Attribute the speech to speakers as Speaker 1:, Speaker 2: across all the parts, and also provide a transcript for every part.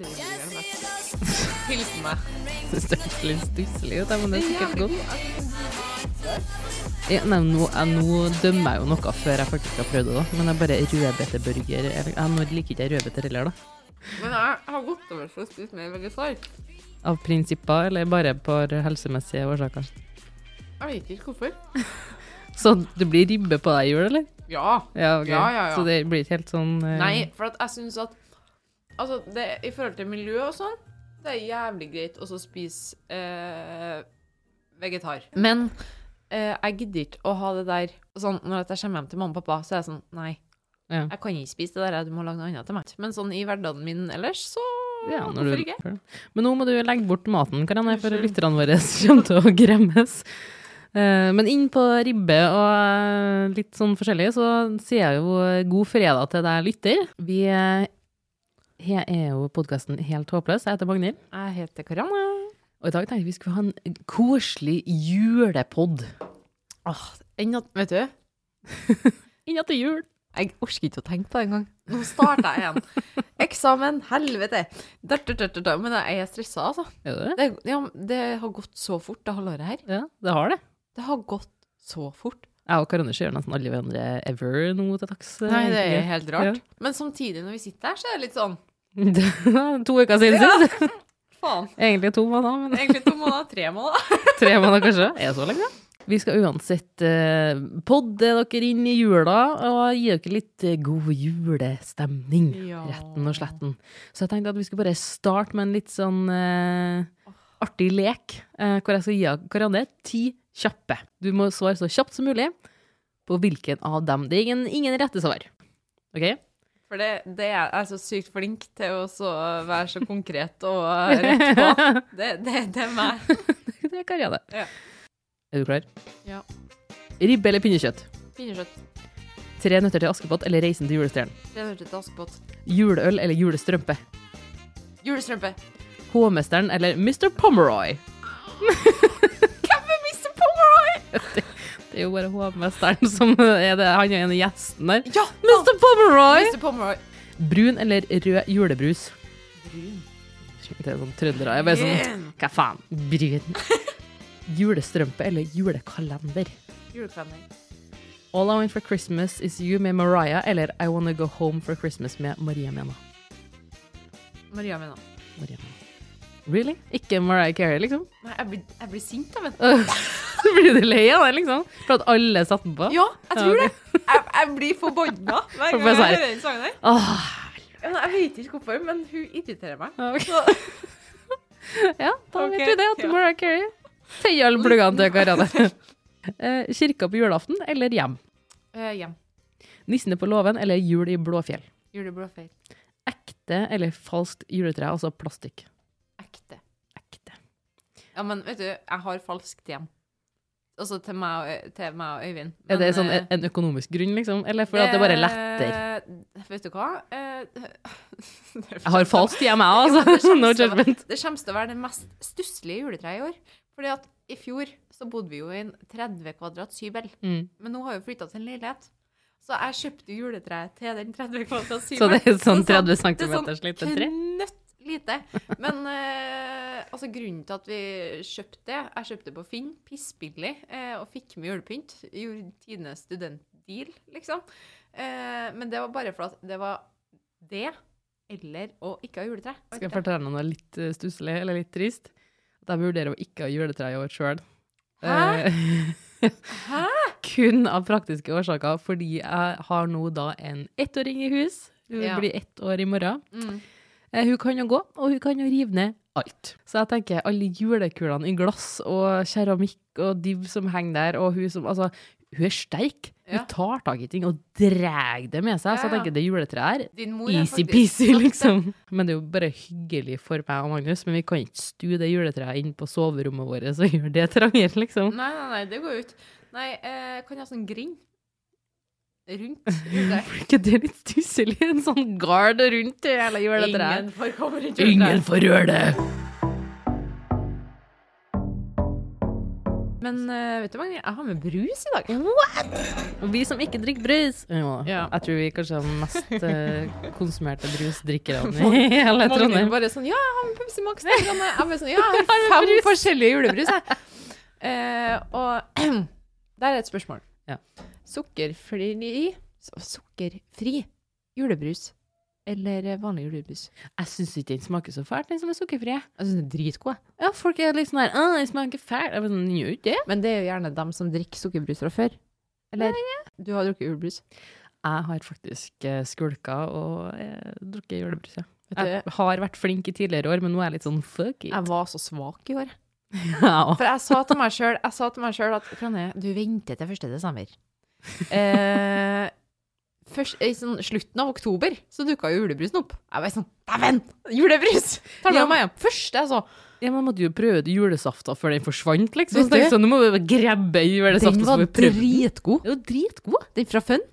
Speaker 1: Selleri. Hilsen meg.
Speaker 2: Synes det høres litt stusslig ut, ja, men det er sikkert godt.
Speaker 1: godt.
Speaker 2: Ja, nei, nå, jeg, nå dømmer jeg jo noe før jeg faktisk har prøvd det, da. Men jeg bare rødbeteburger eller- ja, Nå liker ikke jeg rødbeter heller, da.
Speaker 1: Men jeg har gått over til å spise mer vegetar.
Speaker 2: Av prinsipper, eller bare på helsemessige årsaker.
Speaker 1: Jeg vet ikke hvorfor.
Speaker 2: Så det blir ribbe på deg i jul, eller?
Speaker 1: Ja.
Speaker 2: Ja, ok.
Speaker 1: Ja, ja, ja.
Speaker 2: Så det blir ikke helt sånn eh,
Speaker 1: Nei, for at jeg syns at Altså, det, i forhold til miljø og sånn, det er jævlig greit også å spise eh, vegetar. Men eh, jeg gidder ikke å ha det der sånn Når at jeg kommer hjem til mamma og pappa, så er jeg sånn Nei,
Speaker 2: Ja.
Speaker 1: jeg kan ikke spise det der, du må lage noe annet til meg. Men sånn i hverdagen min ellers, så
Speaker 2: Ja, når
Speaker 1: hvorfor
Speaker 2: du,
Speaker 1: ikke?
Speaker 2: Men nå må du legge bort maten, Karianne, for lytterne våre kommer til å gremmes. Eh, Men inn på ribbe og eh, litt sånn forskjellig, så sier jeg jo eh, god fredag til deg, lytter. Vi eh, he- er jo podkasten Helt håpløs. Jeg heter Magnhild.
Speaker 1: Jeg heter Karianne.
Speaker 2: Og i dag tenkte jeg vi skulle ha en koselig julepod.
Speaker 1: Åh, enn at Vet du,
Speaker 2: Inna til jul.
Speaker 1: jeg orker ikke å tenke på det engang. Nå starter jeg igjen. Eksamen, helvete! Dør, dør, dør, dør, dør. Men jeg er stressa, altså.
Speaker 2: Er det det?
Speaker 1: Det, ja, det har gått så fort, det halvåret her.
Speaker 2: Ja, det har det.
Speaker 1: Det har gått så fort.
Speaker 2: Jeg og Karianne ser nesten alle hverandre ever nå til dags. eh,
Speaker 1: Nei, det er
Speaker 2: egentlig.
Speaker 1: helt rart. Men samtidig, når vi sitter her, så er det litt sånn
Speaker 2: To uker siden sist.
Speaker 1: Faen.
Speaker 2: Egentlig to måneder, men
Speaker 1: Egentlig to måneder, tre måneder.
Speaker 2: Tre måneder kanskje? Er det så lenge? Vi skal uansett eh, podde dere inn i jula og gi dere litt eh, god julestemning,
Speaker 1: Ja.
Speaker 2: retten og sletten. Så jeg tenkte at vi skulle bare starte med en litt sånn eh, artig lek, eh, hvor jeg skal gi dere Karianne, ti kjappe. Du må svare så kjapt som mulig på hvilken av dem. Det er ingen, ingen rette svar. Ok?
Speaker 1: For det, det er, jeg er så sykt flink til å så være så konkret og eh, rett på. Det, det, det er meg.
Speaker 2: det er Karianne.
Speaker 1: Ja.
Speaker 2: Er du klar?
Speaker 1: Ja.
Speaker 2: Ribbe eller pinnekjøtt?
Speaker 1: Pinnekjøtt.
Speaker 2: Tre nøtter til Askepott eller Reisen til julestjernen?
Speaker 1: Renner til Askepott.
Speaker 2: Juleøl eller julestrømpe?
Speaker 1: Julestrømpe.
Speaker 2: Hovmesteren eller Mr. Pomeroy?
Speaker 1: Hvem er Mr. Pomeroy?
Speaker 2: Det er jo bare hovmesteren som er det. Han er en av gjesten der.
Speaker 1: Ja!
Speaker 2: Mr. Pomeroy!
Speaker 1: Mr. Pomeroy.
Speaker 2: Brun eller rød julebrus? Det er sånn trøndere. Jeg er bare sånn
Speaker 1: Brun.
Speaker 2: Hva faen? Brun. Julestrømpe eller julekalender?
Speaker 1: Julekvenning.
Speaker 2: All I Want for Christmas Is You med Mariah eller I Wanna Go Home for Christmas med Maria Mena.
Speaker 1: Maria Mena.
Speaker 2: Maria Mena. Really? Ikke Mariah Carey, liksom?
Speaker 1: Nei, jeg blir, jeg blir sint av henne.
Speaker 2: Så blir du lei av det, liksom? For at alle satte den på?
Speaker 1: Ja, jeg tror
Speaker 2: Ja,
Speaker 1: det. Jeg, jeg blir forbanna hver gang
Speaker 2: Bare
Speaker 1: jeg
Speaker 2: så her.
Speaker 1: hører den sangen der.
Speaker 2: Åh,
Speaker 1: Ja, nei, Jeg vet ikke hvorfor, men hun irriterer meg.
Speaker 2: Ja, ok.
Speaker 1: Så-
Speaker 2: ja, da
Speaker 1: Ok,
Speaker 2: vet du det, at
Speaker 1: ja.
Speaker 2: Mariah Carey tøyer alle pluggene til Karianne. Eh, Kirka på julaften eller hjem?
Speaker 1: Eh, hjem.
Speaker 2: Nissene på låven eller jul i Blåfjell?
Speaker 1: Julebrødfeil.
Speaker 2: Ekte eller falskt juletre, altså plastikk?
Speaker 1: Ekte.
Speaker 2: Ekte.
Speaker 1: Ja, men vet du, jeg har falskt hjem. Altså til meg og, til meg og Øyvind.
Speaker 2: Er det
Speaker 1: Men,
Speaker 2: sånn
Speaker 1: eh,
Speaker 2: en- en økonomisk grunn, liksom? Eller fordi at det bare er lettere?
Speaker 1: eh, Vet du hva? Eh,
Speaker 2: Jeg har falskt hjem, jeg, altså.
Speaker 1: sånn
Speaker 2: No judgment.
Speaker 1: Det kommer til å være det mest stusslige juletreet i år. Fordi at i fjor så bodde vi jo i en 30 kvadrats hybel.
Speaker 2: Mm.
Speaker 1: Men nå har vi flytta til en leilighet. Så jeg kjøpte juletreet til den 30 kvadrats
Speaker 2: Så
Speaker 1: hybelen.
Speaker 2: det er sånn
Speaker 1: Så sånn-
Speaker 2: 30
Speaker 1: Det
Speaker 2: cm
Speaker 1: er
Speaker 2: lite
Speaker 1: sånn
Speaker 2: tre?
Speaker 1: knøtt lite. Men eh, altså, grunnen til at vi kjøpte det Jeg kjøpte det på Finn, pissbillig, eh, og fikk med julepynt. Gjorde tidenes studentdeal, liksom. Eh, men det var bare for at det var det eller å ikke ha juletre.
Speaker 2: Skal jeg fortelle deg noe litt eh, stusslig eller litt trist? At jeg vurderer å ikke ha juletre i år sjøl.
Speaker 1: Hæ? Hæ?
Speaker 2: Kun av praktiske årsaker, fordi jeg har nå da en ettåring i hus. Hun
Speaker 1: Ja.
Speaker 2: blir ett år i morgen.
Speaker 1: Mm.
Speaker 2: Eh, Hun kan jo gå, og hun kan jo rive ned alt. Så jeg tenker alle julekulene i glass og keramikk og div som henger der, og hun som Altså, hun er sterk.
Speaker 1: Ja.
Speaker 2: Hun tar tak i ting og drar det med seg.
Speaker 1: Ja,
Speaker 2: Så jeg
Speaker 1: ja.
Speaker 2: tenker det juletreet her
Speaker 1: Din mor er faktisk
Speaker 2: Easy-peasy,
Speaker 1: sagt det.
Speaker 2: liksom. Men det er jo bare hyggelig for meg og Magnus, men vi kan ikke stue det juletreet inn på soverommet vårt og gjøre det trangere, liksom.
Speaker 1: Nei, nei, nei, det går jo ut. Nei, eh, kan jeg ha sånn grind? Rundt juletreet.
Speaker 2: Blir ikke det litt stusslig? En sånn gard rundt det hele juletreet?
Speaker 1: Ingen får komme rundt juletreet.
Speaker 2: Ingen får røre det!
Speaker 1: Men eh, vet du, Magnhild, jeg har med brus i dag.
Speaker 2: Og vi som ikke drikker brus jo,
Speaker 1: Ja.
Speaker 2: Jeg tror vi kanskje er de mest eh, konsumerte brusdrikkerne i hele
Speaker 1: Magnhild
Speaker 2: Trondheim.
Speaker 1: bare sånn Ja, jeg har med Pepsi Max. Jeg har med, jeg bare sånn, ja, jeg har fem forskjellige julebrus, jeg. Eh, og der er et spørsmål.
Speaker 2: Ja.
Speaker 1: Sukkerfri, så- sukkerfri julebrus eller vanlig julebrus?
Speaker 2: Jeg syns ikke den smaker så fælt, den som er sukkerfri.
Speaker 1: Jeg syns den er dritgod. jeg.
Speaker 2: Ja, folk er liksom der Å, den smaker fælt. Jeg bare sånn, den gjør jo ikke det.
Speaker 1: Men det er jo gjerne dem som drikker sukkerbrus fra før. Eller? Du har drukket julebrus.
Speaker 2: Jeg har faktisk eh, skulka og eh, drukket julebrus, ja.
Speaker 1: Vet du,
Speaker 2: Jeg har vært flink i tidligere år, men nå er jeg litt sånn fuck it.
Speaker 1: jeg var så svak i år.
Speaker 2: Ja.
Speaker 1: For jeg sa til meg sjøl Jeg sa til meg selv at Krone, du venter til 1. desember. Eh, først, I sånn, slutten av oktober så dukka julebrusen opp. Jeg var sånn Dæven! Julebrus! Tar med
Speaker 2: Ja.
Speaker 1: meg hjem. Første jeg så.
Speaker 2: Ja, Man måtte jo prøve ut julesafta før den forsvant, liksom.
Speaker 1: Vet
Speaker 2: Så tenkte
Speaker 1: du?
Speaker 2: jeg, sånn, nå må vi bare grabbe julesafta.
Speaker 1: Den
Speaker 2: så
Speaker 1: var
Speaker 2: får vi prøve den.
Speaker 1: dritgod.
Speaker 2: Den var dritgod.
Speaker 1: Den fra Fun.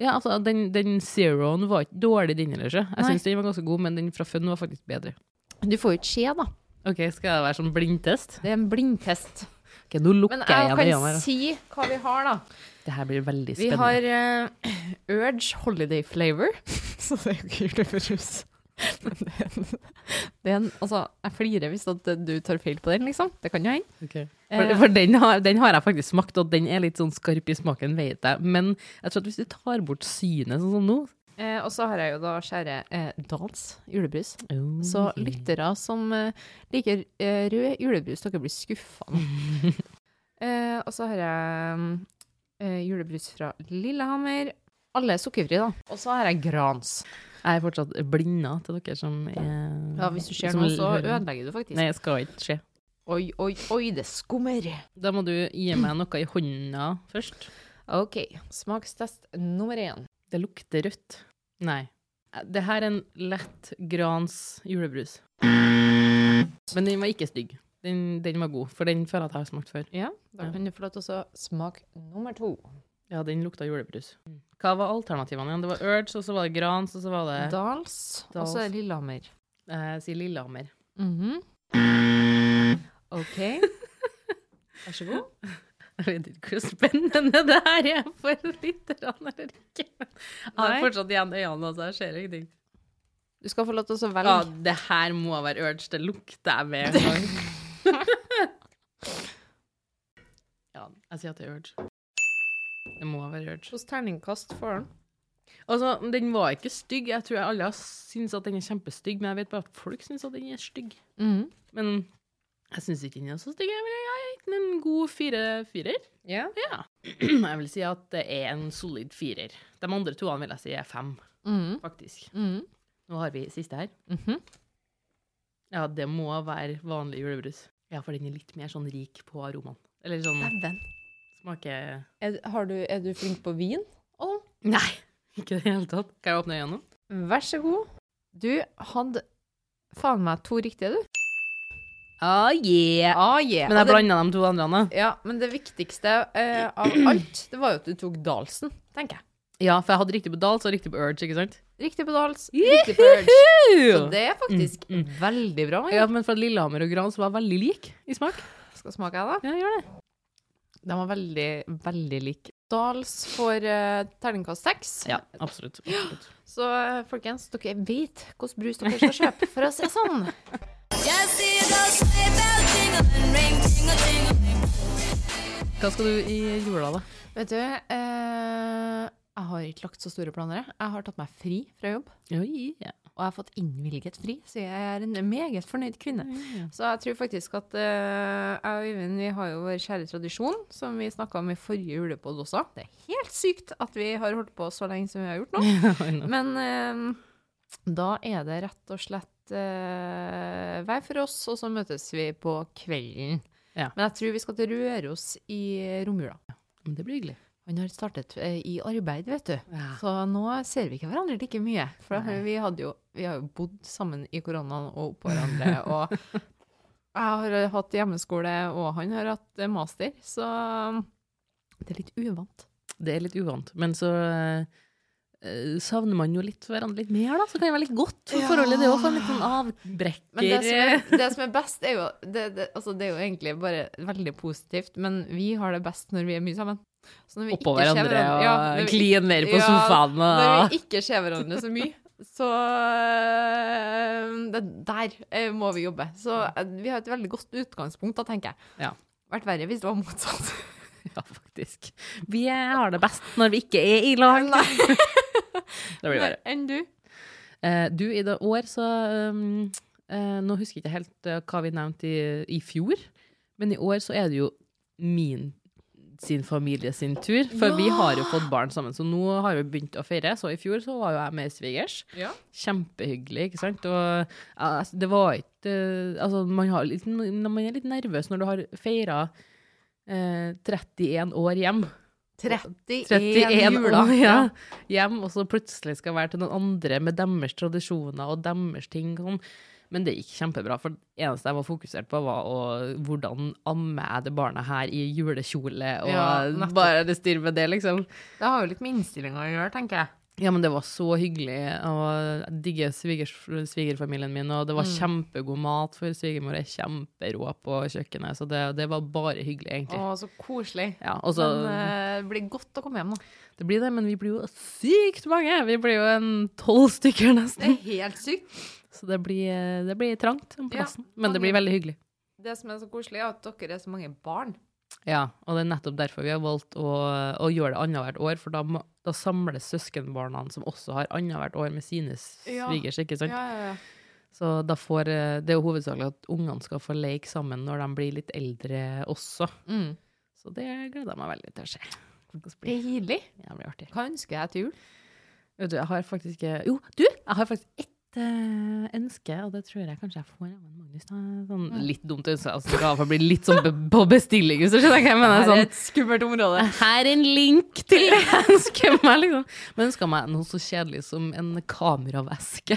Speaker 2: Ja, altså, den, den zeroen var ikke dårlig, den heller. ikke. Jeg
Speaker 1: Nei.
Speaker 2: syns den var ganske god, men den fra Fun var faktisk bedre.
Speaker 1: Du får jo ikke se, da.
Speaker 2: Ok, Skal jeg være sånn blindtest?
Speaker 1: Det er en blindtest.
Speaker 2: Ok, Nå
Speaker 1: Men
Speaker 2: lukker jeg
Speaker 1: jeg
Speaker 2: av øynene.
Speaker 1: kan
Speaker 2: her.
Speaker 1: si hva vi har, da.
Speaker 2: Det her blir veldig
Speaker 1: Vi
Speaker 2: spennende.
Speaker 1: har eh, Urge Holiday Flavor. Så det er jo ikke julebrus. Men det er en, det er en Altså, jeg flirer hvis at du tar feil på den, liksom. Det kan jo hende.
Speaker 2: Ok. For,
Speaker 1: Eh,
Speaker 2: for den, har, den har jeg faktisk smakt, og den er litt sånn skarp i smaken, vet jeg. Men jeg tror at hvis du tar bort synet sånn som nå
Speaker 1: Eh, og så har jeg jo da skjære eh, Dals julebrus. Så lyttere som eh, liker eh, rød julebrus, dere blir skuffa nå. eh, og så har jeg mm, eh, julebrus fra Lillehammer. Alle er sukkerfrie, da. Og så har jeg Grans.
Speaker 2: Jeg er fortsatt blinda til dere som er
Speaker 1: Ja, hvis du ser
Speaker 2: som
Speaker 1: noe, så
Speaker 2: hører.
Speaker 1: ødelegger du faktisk.
Speaker 2: Nei, det skal ikke skje.
Speaker 1: Oi, oi, oi, det skummer.
Speaker 2: Da må du gi meg noe i hånda først.
Speaker 1: OK, smakstest nummer én.
Speaker 2: Det lukter rødt. Nei. Det her er en lett grans julebrus. Men den var ikke stygg. Den, den var god, for den føler jeg at jeg har smakt før.
Speaker 1: Ja, da
Speaker 2: Ja.
Speaker 1: kan du få lov til å så smake nummer to.
Speaker 2: Ja, den lukta julebrus. Hva var alternativene igjen? Det var Urge, og så var det Grans, og så var det
Speaker 1: Eh, Dals, og så
Speaker 2: Dals.
Speaker 1: er Lillehammer.
Speaker 2: eh, Jeg sier Lillehammer.
Speaker 1: Mhm. OK. Vær så god.
Speaker 2: Jeg vet ikke hvor spennende det her er for lytterne eller ikke. Jeg har
Speaker 1: Nei.
Speaker 2: fortsatt igjen øynene, altså. Jeg ser ingenting.
Speaker 1: Du skal få lov til å så velge.
Speaker 2: Ja, det her må være Urge. Det lukter jeg med en gang. ja, jeg sier at det er Urge. Det må være Urge.
Speaker 1: Hvilket terningkast får den?
Speaker 2: Altså, den var ikke stygg. Jeg tror alle syns at den er kjempestygg, men jeg vet bare at folk syns at den er stygg.
Speaker 1: Mhm.
Speaker 2: Men jeg syns ikke den er så stygg. Jeg vil ha gitt den en god fire firer.
Speaker 1: Ja.
Speaker 2: Ja. Jeg vil si at det er en solid firer. De andre toene vil jeg si er fem, faktisk.
Speaker 1: Mhm.
Speaker 2: Nå har vi siste her.
Speaker 1: Mhm.
Speaker 2: Ja, det må være vanlig julebrus. Ja, for den er litt mer sånn rik på aromaen. Eller sånn
Speaker 1: Dæven.
Speaker 2: smaker
Speaker 1: Er, har du- er du flink på vin? Å,
Speaker 2: Nei, ikke i det hele tatt. Kan jeg åpne øynene?
Speaker 1: Vær så god. Du hadde faen meg to riktige, du.
Speaker 2: Ah, yeah.
Speaker 1: Ah, yeah.
Speaker 2: Men jeg
Speaker 1: Og det-
Speaker 2: blanda de to andre. Anna.
Speaker 1: Ja, men det viktigste eh, av alt, det var jo at du tok Dalsen, tenker jeg.
Speaker 2: Ja, for jeg hadde riktig på Dals og riktig på Urge, ikke sant?
Speaker 1: Riktig på Dals, riktig på Urge. Så det er faktisk
Speaker 2: Mm,
Speaker 1: veldig bra.
Speaker 2: Ja,
Speaker 1: Jeg
Speaker 2: men fra Lillehammer og Gran så var jeg veldig lik i smak.
Speaker 1: skal smake, jeg, da.
Speaker 2: Ja, gjør det.
Speaker 1: Den var veldig, veldig lik. Dals får eh, terningkast seks.
Speaker 2: Ja, absolutt. absolutt.
Speaker 1: Så eh, folkens, dere vet hvilken brus dere skal kjøpe, for å si det sånn.
Speaker 3: Just hear those sleigh bells jingling, ring, tingle, tingle.
Speaker 2: Hva skal du i jula, da?
Speaker 1: Vet du, eh, jeg har ikke lagt så store planer. jeg. Jeg har tatt meg fri fra jobb,
Speaker 2: Oi, ja.
Speaker 1: og jeg har fått innvilget fri, så jeg er en meget fornøyd kvinne. Så jeg tror faktisk at eh, jeg og Øyvind vi har jo vår kjære tradisjon, som vi snakka om i forrige julepod også. Det er helt sykt at vi har holdt på så lenge som vi har gjort nå.
Speaker 2: Mm.
Speaker 1: Men eh, da er det rett og slett eh, hver for oss, og så møtes vi på kvelden.
Speaker 2: Ja.
Speaker 1: Men jeg tror vi skal til Røros i romjula.
Speaker 2: Men det blir hyggelig.
Speaker 1: Han har startet eh, i arbeid, vet du.
Speaker 2: Ja.
Speaker 1: Så nå ser vi ikke hverandre like mye. For
Speaker 2: Nei.
Speaker 1: vi, hadde jo, vi har jo bodd sammen i koronaen og oppå hverandre. Og jeg har eh, hatt hjemmeskole, og han har hatt eh, master. Så det er litt uvant.
Speaker 2: Det er litt uvant, men så eh, eh, savner man jo litt hverandre litt mer, da. Så kan det være litt godt for
Speaker 1: Ja.
Speaker 2: forholdet, det òg. For en litt sånn avbrekker.
Speaker 1: Men det som, er, det som er best, er jo det, det, altså det er jo egentlig bare veldig positivt, men vi har det best når vi er mye sammen. Så når vi
Speaker 2: Oppå
Speaker 1: ikke ser
Speaker 2: hverandre og
Speaker 1: ja, når vi-
Speaker 2: klin ned på
Speaker 1: ja,
Speaker 2: sofaen.
Speaker 1: Når
Speaker 2: Og,
Speaker 1: vi ikke ser hverandre så mye. Så øh, det der eh, må vi jobbe. Så eh, vi har et veldig godt utgangspunkt, da, tenker jeg.
Speaker 2: Ja.
Speaker 1: Vært verre hvis det var motsatt.
Speaker 2: ja, faktisk. Vi eh, har det best når vi ikke er i lag.
Speaker 1: Nei,
Speaker 2: Det blir verre.
Speaker 1: enn du.
Speaker 2: Eh, du, i det år så um, eh, Nå husker jeg ikke helt eh, hva vi nevnte i, i fjor, men i år så er det jo min sin familie sin tur, for vi har jo fått barn sammen. Så nå har vi begynt å feire. Så i fjor så var jo jeg med svigers. Kjempehyggelig, ikke sant? Og ja, det var ikke Altså, man, har litt, man er litt nervøs når du har feira eh, 31 år hjem.
Speaker 1: 31,
Speaker 2: 31
Speaker 1: jula.
Speaker 2: år ja. hjem, og så plutselig skal være til noen andre med deres tradisjoner og deres ting. Sånn. Men det gikk kjempebra, for det eneste jeg var fokusert på, var å, hvordan ammer jeg det barnet her i julekjole, og
Speaker 1: Ja, nettopp.
Speaker 2: bare det styr med det, liksom.
Speaker 1: Det har jo litt med innstillinga å gjøre, tenker jeg.
Speaker 2: Ja, men det var så hyggelig, og jeg digger svigers, svigerfamilien min, og det
Speaker 1: Mm.
Speaker 2: var kjempegod mat, for svigermor er kjemperå på kjøkkenet, så det, det var bare hyggelig, egentlig.
Speaker 1: Å, så koselig.
Speaker 2: Ja, og så-
Speaker 1: Men eh, det blir godt å komme hjem, da.
Speaker 2: Det blir det, men vi blir jo sykt mange. Vi blir jo en tolv stykker
Speaker 1: Det
Speaker 2: nesten.
Speaker 1: er helt sykt.
Speaker 2: Så det blir, eh, det blir trangt om
Speaker 1: Ja,
Speaker 2: plassen. men det blir veldig hyggelig.
Speaker 1: Det som er så koselig, er at dere er så mange barn.
Speaker 2: Ja, og det er nettopp derfor vi har valgt å, å gjøre det annethvert år, for da, må- da samles søskenbarna som også har annethvert år med sine
Speaker 1: Ja.
Speaker 2: svigers, ikke sant?
Speaker 1: ja, ja.
Speaker 2: Så da får, eh, det er jo hovedsakelig at ungene skal få leke sammen når de blir litt eldre også.
Speaker 1: Mm.
Speaker 2: Så det gleder jeg meg veldig til å se. Hvordan blir det?
Speaker 1: Deilig.
Speaker 2: Ja, det blir artig.
Speaker 1: Hva ønsker jeg til jul?
Speaker 2: Vet du, jeg har faktisk ikke Jo, du! Jeg har faktisk ett eh, ønske, og det tror jeg kanskje jeg får av en Magnus. Da. Sånn, litt dumt ønske. Altså, gaver blir litt sånn be på bestilling, hvis du skjønner hva jeg mener.
Speaker 1: Her er
Speaker 2: Sånn,
Speaker 1: et skummelt område.
Speaker 2: her er en link til det jeg ønsker meg, liksom. Men jeg ønsker meg noe så kjedelig som en kameraveske.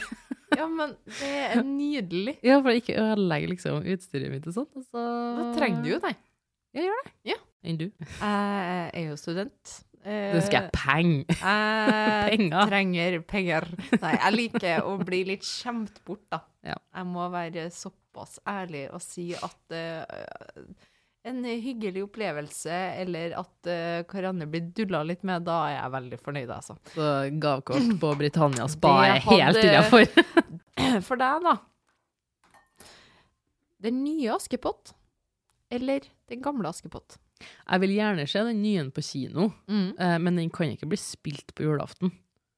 Speaker 1: Ja, men det er nydelig.
Speaker 2: Ja, for å ikke ødelegge liksom, utstyret mitt og sånn. og så-
Speaker 1: Da trenger du jo det.
Speaker 2: Jeg gjør det.
Speaker 1: Ja.
Speaker 2: Enn du?
Speaker 1: Jeg er jo student. Eh,
Speaker 2: Du ønsker jeg penger.
Speaker 1: Jeg
Speaker 2: Penger.
Speaker 1: trenger penger. Nei, jeg liker å bli litt skjemt bort, da.
Speaker 2: Ja.
Speaker 1: Jeg må være såpass ærlig og si at eh, en hyggelig opplevelse, eller at eh, hverandre blir dulla litt med, da er jeg veldig fornøyd, altså.
Speaker 2: Så gavkort på Britannia Spa er
Speaker 1: Det hadde-
Speaker 2: helt innafor.
Speaker 1: For deg, da. Den nye Askepott, eller den gamle Askepott?
Speaker 2: Jeg vil gjerne se den nye på kino. Eh, men den kan ikke bli spilt på julaften.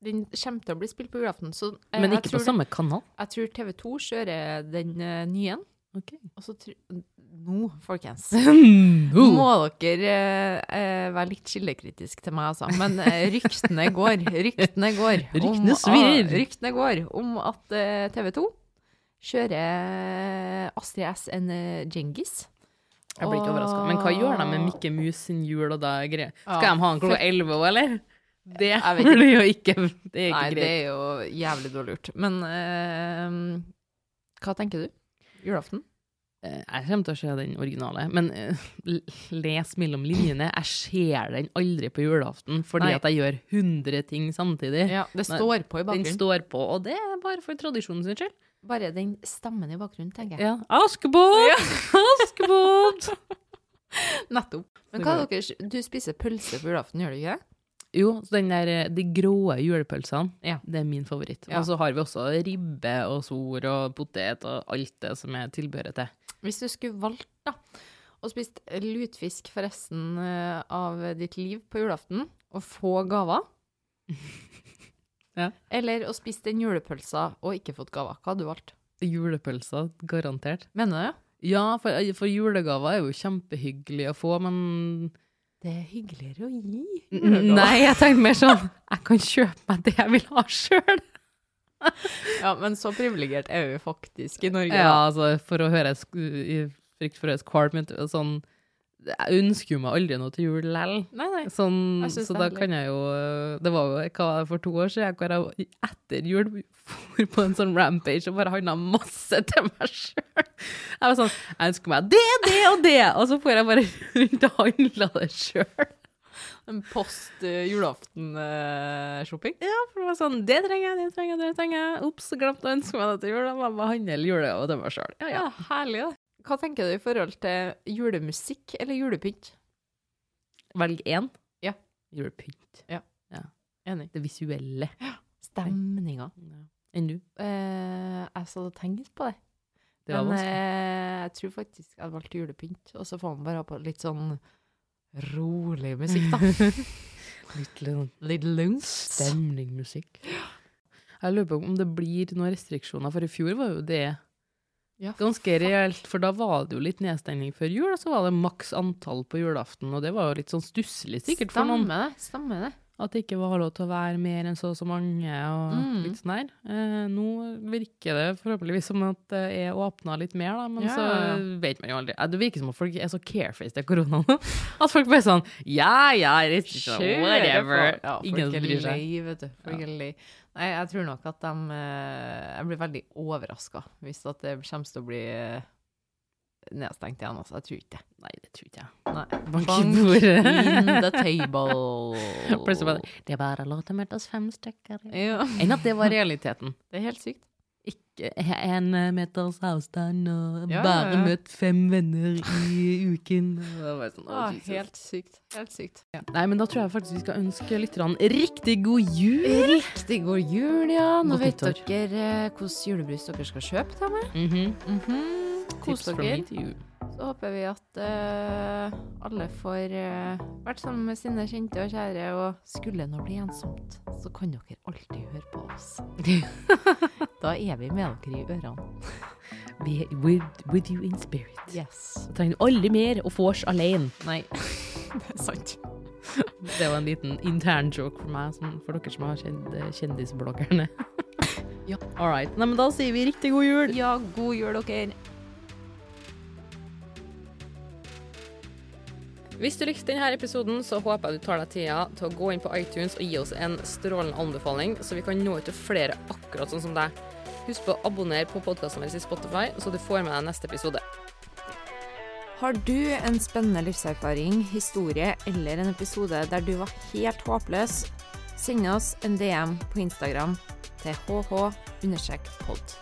Speaker 1: Den kommer til å bli spilt på julaften, så eh,
Speaker 2: Men
Speaker 1: jeg,
Speaker 2: ikke på
Speaker 1: tror,
Speaker 2: samme kanal.
Speaker 1: jeg tror TV 2 kjører den eh, nye en. Og så tror Nå, folkens. Nå må dere eh, eh, være litt kildekritiske til meg, altså. Men eh, ryktene går. Ryktene går.
Speaker 2: Ryktene svirrer.
Speaker 1: ah, ryktene går om at eh, TV 2 kjører Astrid S enn eh, Djengis.
Speaker 2: Jeg blir ikke overraska. Men hva gjør de med Mikke Mus sin jul og da greier? Skal
Speaker 1: Ja,
Speaker 2: de ha den klokka elleve òg, eller? Det
Speaker 1: Jeg vet ikke.
Speaker 2: blir jo ikke Det er ikke
Speaker 1: Nei, det
Speaker 2: greit.
Speaker 1: er jo jævlig dårlig gjort. Men eh, hva tenker du? Julaften?
Speaker 2: Eh, Jeg kommer til å se den originale, men eh, l- les mellom linjene. Jeg ser den aldri på julaften fordi
Speaker 1: Nei.
Speaker 2: at jeg gjør 100 ting samtidig.
Speaker 1: Ja, det
Speaker 2: Eh, Nei,
Speaker 1: står på i
Speaker 2: Den
Speaker 1: bakgrunnen.
Speaker 2: står på, og det er bare for tradisjonen sin skyld.
Speaker 1: Bare den stemmen i bakgrunnen, tenker jeg.
Speaker 2: Ja. Askepott! Askepott!
Speaker 1: Nettopp. Men hva er deres Du spiser pølse på julaften, gjør du ikke det?
Speaker 2: Jo, så den der, eh, de grå julepølsene,
Speaker 1: Ja.
Speaker 2: det er min favoritt.
Speaker 1: Ja.
Speaker 2: Og så har vi også ribbe og sor og potet og alt det som er tilbehøret til.
Speaker 1: Hvis du skulle valgt, da, og spist lutfisk for resten eh, av ditt liv på julaften, og få gaver
Speaker 2: Ja.
Speaker 1: Eller å spise den julepølsa og ikke fått gaver. Hva hadde du valgt?
Speaker 2: Julepølser, garantert.
Speaker 1: Mener du det?
Speaker 2: Ja, for, eh, for julegaver er jo kjempehyggelig å få, men
Speaker 1: Det er hyggeligere å gi. julegaver.
Speaker 2: Nei, jeg tenkte mer sånn Jeg kan kjøpe meg det jeg vil ha sjøl!
Speaker 1: Ja, men så privilegert er vi faktisk i Norge. da.
Speaker 2: Ja, altså, for å høre sk- i frykt for å høre skvalm sånn Jeg ønsker jo meg aldri noe til jul lell.
Speaker 1: Nei, nei.
Speaker 2: Sånn,
Speaker 1: Jeg synes
Speaker 2: så
Speaker 1: det
Speaker 2: da
Speaker 1: er
Speaker 2: kan jeg jo Det var jo hva, var det for to år siden hvor jeg etter jul for på en sånn rampage og bare handla masse til meg sjøl. Jeg var sånn Jeg ønsker meg det, det og det! Og så får jeg bare rundt og handla det sjøl.
Speaker 1: En post eh,
Speaker 2: eh,
Speaker 1: julaften-shopping.
Speaker 2: Ja, for det var sånn Det trenger jeg, det trenger jeg, det trenger jeg. Ops, glemte å ønske meg det til jul. Da må jeg bare handle julegave til meg sjøl. Ja, ja.
Speaker 1: ja, herlig, da. Hva tenker du i forhold til julemusikk eller julepynt?
Speaker 2: Velg én.
Speaker 1: Ja.
Speaker 2: Julepynt.
Speaker 1: Enig.
Speaker 2: Det visuelle.
Speaker 1: Stemninga.
Speaker 2: Enn du?
Speaker 1: Eh, jeg satt og tenkte på det.
Speaker 2: Det var
Speaker 1: Men
Speaker 2: vanskelig.
Speaker 1: eh, jeg tror faktisk jeg valgte julepynt, og så får man bare ha på litt sånn rolig musikk, da. eh,
Speaker 2: Litt sånn
Speaker 1: litt lunst.
Speaker 2: stemning, musikk. Jeg lurer på om det blir noen restriksjoner, for i fjor var jo det
Speaker 1: Ja,
Speaker 2: ganske reelt. For da var det jo litt nedstengning før jul, og så var det maks antall på julaften. Og det var jo litt sånn stusslig sikkert for noen.
Speaker 1: Stemmer det. Stemmer det.
Speaker 2: At det ikke var lov til å være mer enn så og så mange og
Speaker 1: Mm.
Speaker 2: litt sånn der. Eh, nå virker det forhåpentligvis som at det er åpna litt mer, da, men
Speaker 1: Ja,
Speaker 2: så
Speaker 1: ja,
Speaker 2: vet man jo aldri. Eh, Det virker som at folk er så carefaced av korona nå. At folk bare sånn Ja, ja, restriksjoner, whatever.
Speaker 1: Ja, folk
Speaker 2: Ingen som
Speaker 1: er
Speaker 2: bryr seg.
Speaker 1: lei, vet du. Folk er lei. Nei, jeg tror nok at de eh, Jeg blir veldig overraska hvis at det kommer til å bli eh, nedstengt igjen. Altså. Jeg tror ikke det.
Speaker 2: Nei, det tror ikke jeg.
Speaker 1: Nei.
Speaker 2: Bank i
Speaker 1: Bank in
Speaker 2: bordet.
Speaker 1: the table.
Speaker 2: Plutselig bare Det var lov til å møte oss fem stykker.
Speaker 1: Ja,
Speaker 2: Enn at det var realiteten.
Speaker 1: det er helt sykt.
Speaker 2: Ikke en meters avstand og
Speaker 1: Ja, ja,
Speaker 2: bare
Speaker 1: ja.
Speaker 2: møtt fem venner i uken. Og det var sånn,
Speaker 1: Ah,
Speaker 2: «Å, Jesus».
Speaker 1: helt sykt. Helt sykt. Ja.
Speaker 2: Nei, men da tror jeg faktisk vi skal ønske lytterne riktig god jul.
Speaker 1: Riktig god jul, ja. Nå
Speaker 2: Godt
Speaker 1: vet
Speaker 2: nyttår.
Speaker 1: dere eh, hvordan julebrus dere skal kjøpe til meg.
Speaker 2: Mhm. Tips
Speaker 1: Mhm. Kos
Speaker 2: fra
Speaker 1: dere.
Speaker 2: meg til jul.
Speaker 1: Så håper vi at eh, alle får eh, vært sammen med sine kjente og kjære, og skulle det nå bli ensomt, så kan dere alltid høre på oss. da er vi med dere i ørene.
Speaker 2: Vi er with, with you in spirit.
Speaker 1: Yes.
Speaker 2: Så trenger du aldri mer å få oss alene.
Speaker 1: Nei, det er sant.
Speaker 2: Det var en liten intern joke for meg, som- for dere som har kjent eh, kjendisbloggerne.
Speaker 1: Ja.
Speaker 2: All right. Nei, men da sier vi riktig god jul.
Speaker 1: Ja, god jul, dere.
Speaker 2: Hvis du likte denne episoden, så håper jeg du tar deg tida til å gå inn på iTunes og gi oss en strålende anbefaling, så vi kan nå ut til flere akkurat sånn som deg. Husk på å abonnere på podkasten vår i Spotify, så du får med deg neste episode.
Speaker 1: Har du en spennende livserfaring, historie eller en episode der du var helt håpløs, send oss en DM på Instagram til hh-pod.